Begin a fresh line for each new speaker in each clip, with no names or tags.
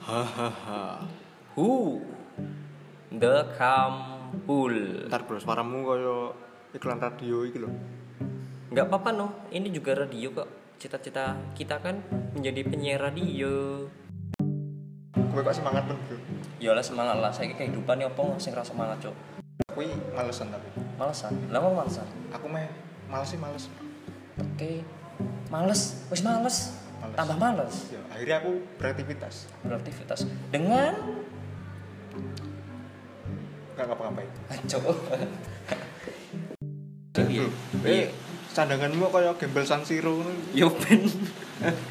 Hahaha.
Hu. The Kampul.
Ntar bro, suaramu koyo iklan radio iki lho.
Nggak apa-apa noh, ini juga radio kok. Cita-cita kita kan menjadi penyiar radio.
Kowe kok semangat men bro.
Yolah semangat Ya lah, saya kehidupan ya opo sing rasa semangat cok.
Kuwi malesan tapi.
Malesan, lama malesan.
Aku meh males sih males.
Oke, males, wis males.
Males.
Tambah males
Ya, akhirnya aku beraktivitas.
beraktivitas dengan
Enggak ngapa-ngapain.
Ah, cok. Iya.
Bro, Ini sandanganmu koyo gembel San Siro ngono.
Yo ben.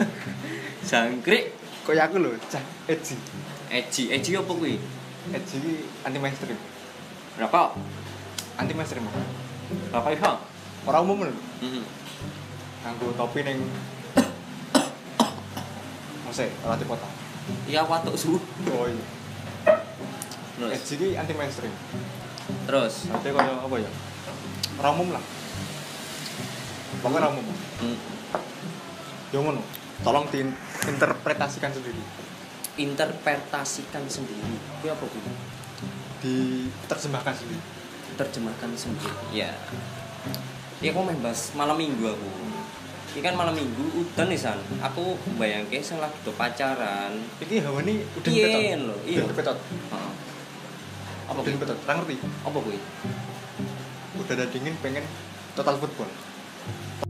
Jangkrik
Koyo aku lho, cah edgy.
Eji, Eji apa kuwi?
Edgy iki anti mainstream.
Rokok.
Anti mainstream. kok.
Rokok iso.
Ora umum lho.
Heeh.
Nganggo topi ning Mose, ora kota.
Iya watuk su.
Oh iya.
Terus.
Edgy iki anti mainstream.
Terus.
Nanti koyo apa ya? Ora umum lah. Pokoknya ora umum.
Hmm.
Ya ngono. Tolong diinterpretasikan sendiri.
Interpretasikan sendiri. Kuwi apa kuwi?
Diterjemahkan sendiri.
Terjemahkan sendiri. Iya. Ya aku main bahas malam minggu aku. Ini kan malam minggu udan nih san. Aku bayangke sing lagi do pacaran.
Iki hawa ini udah
Iya,
petot.
lho, iya.
Udah petot.
Heeh. Apa
Apa
kuwi?
udah petot? Ora ngerti.
Apa kuwi?
Udah ada dingin pengen total football.